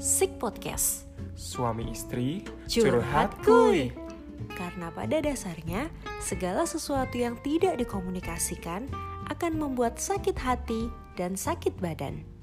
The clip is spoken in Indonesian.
Sik Podcast Suami istri Curhat kuy. Kuy Karena pada dasarnya segala sesuatu yang tidak dikomunikasikan akan membuat sakit hati dan sakit badan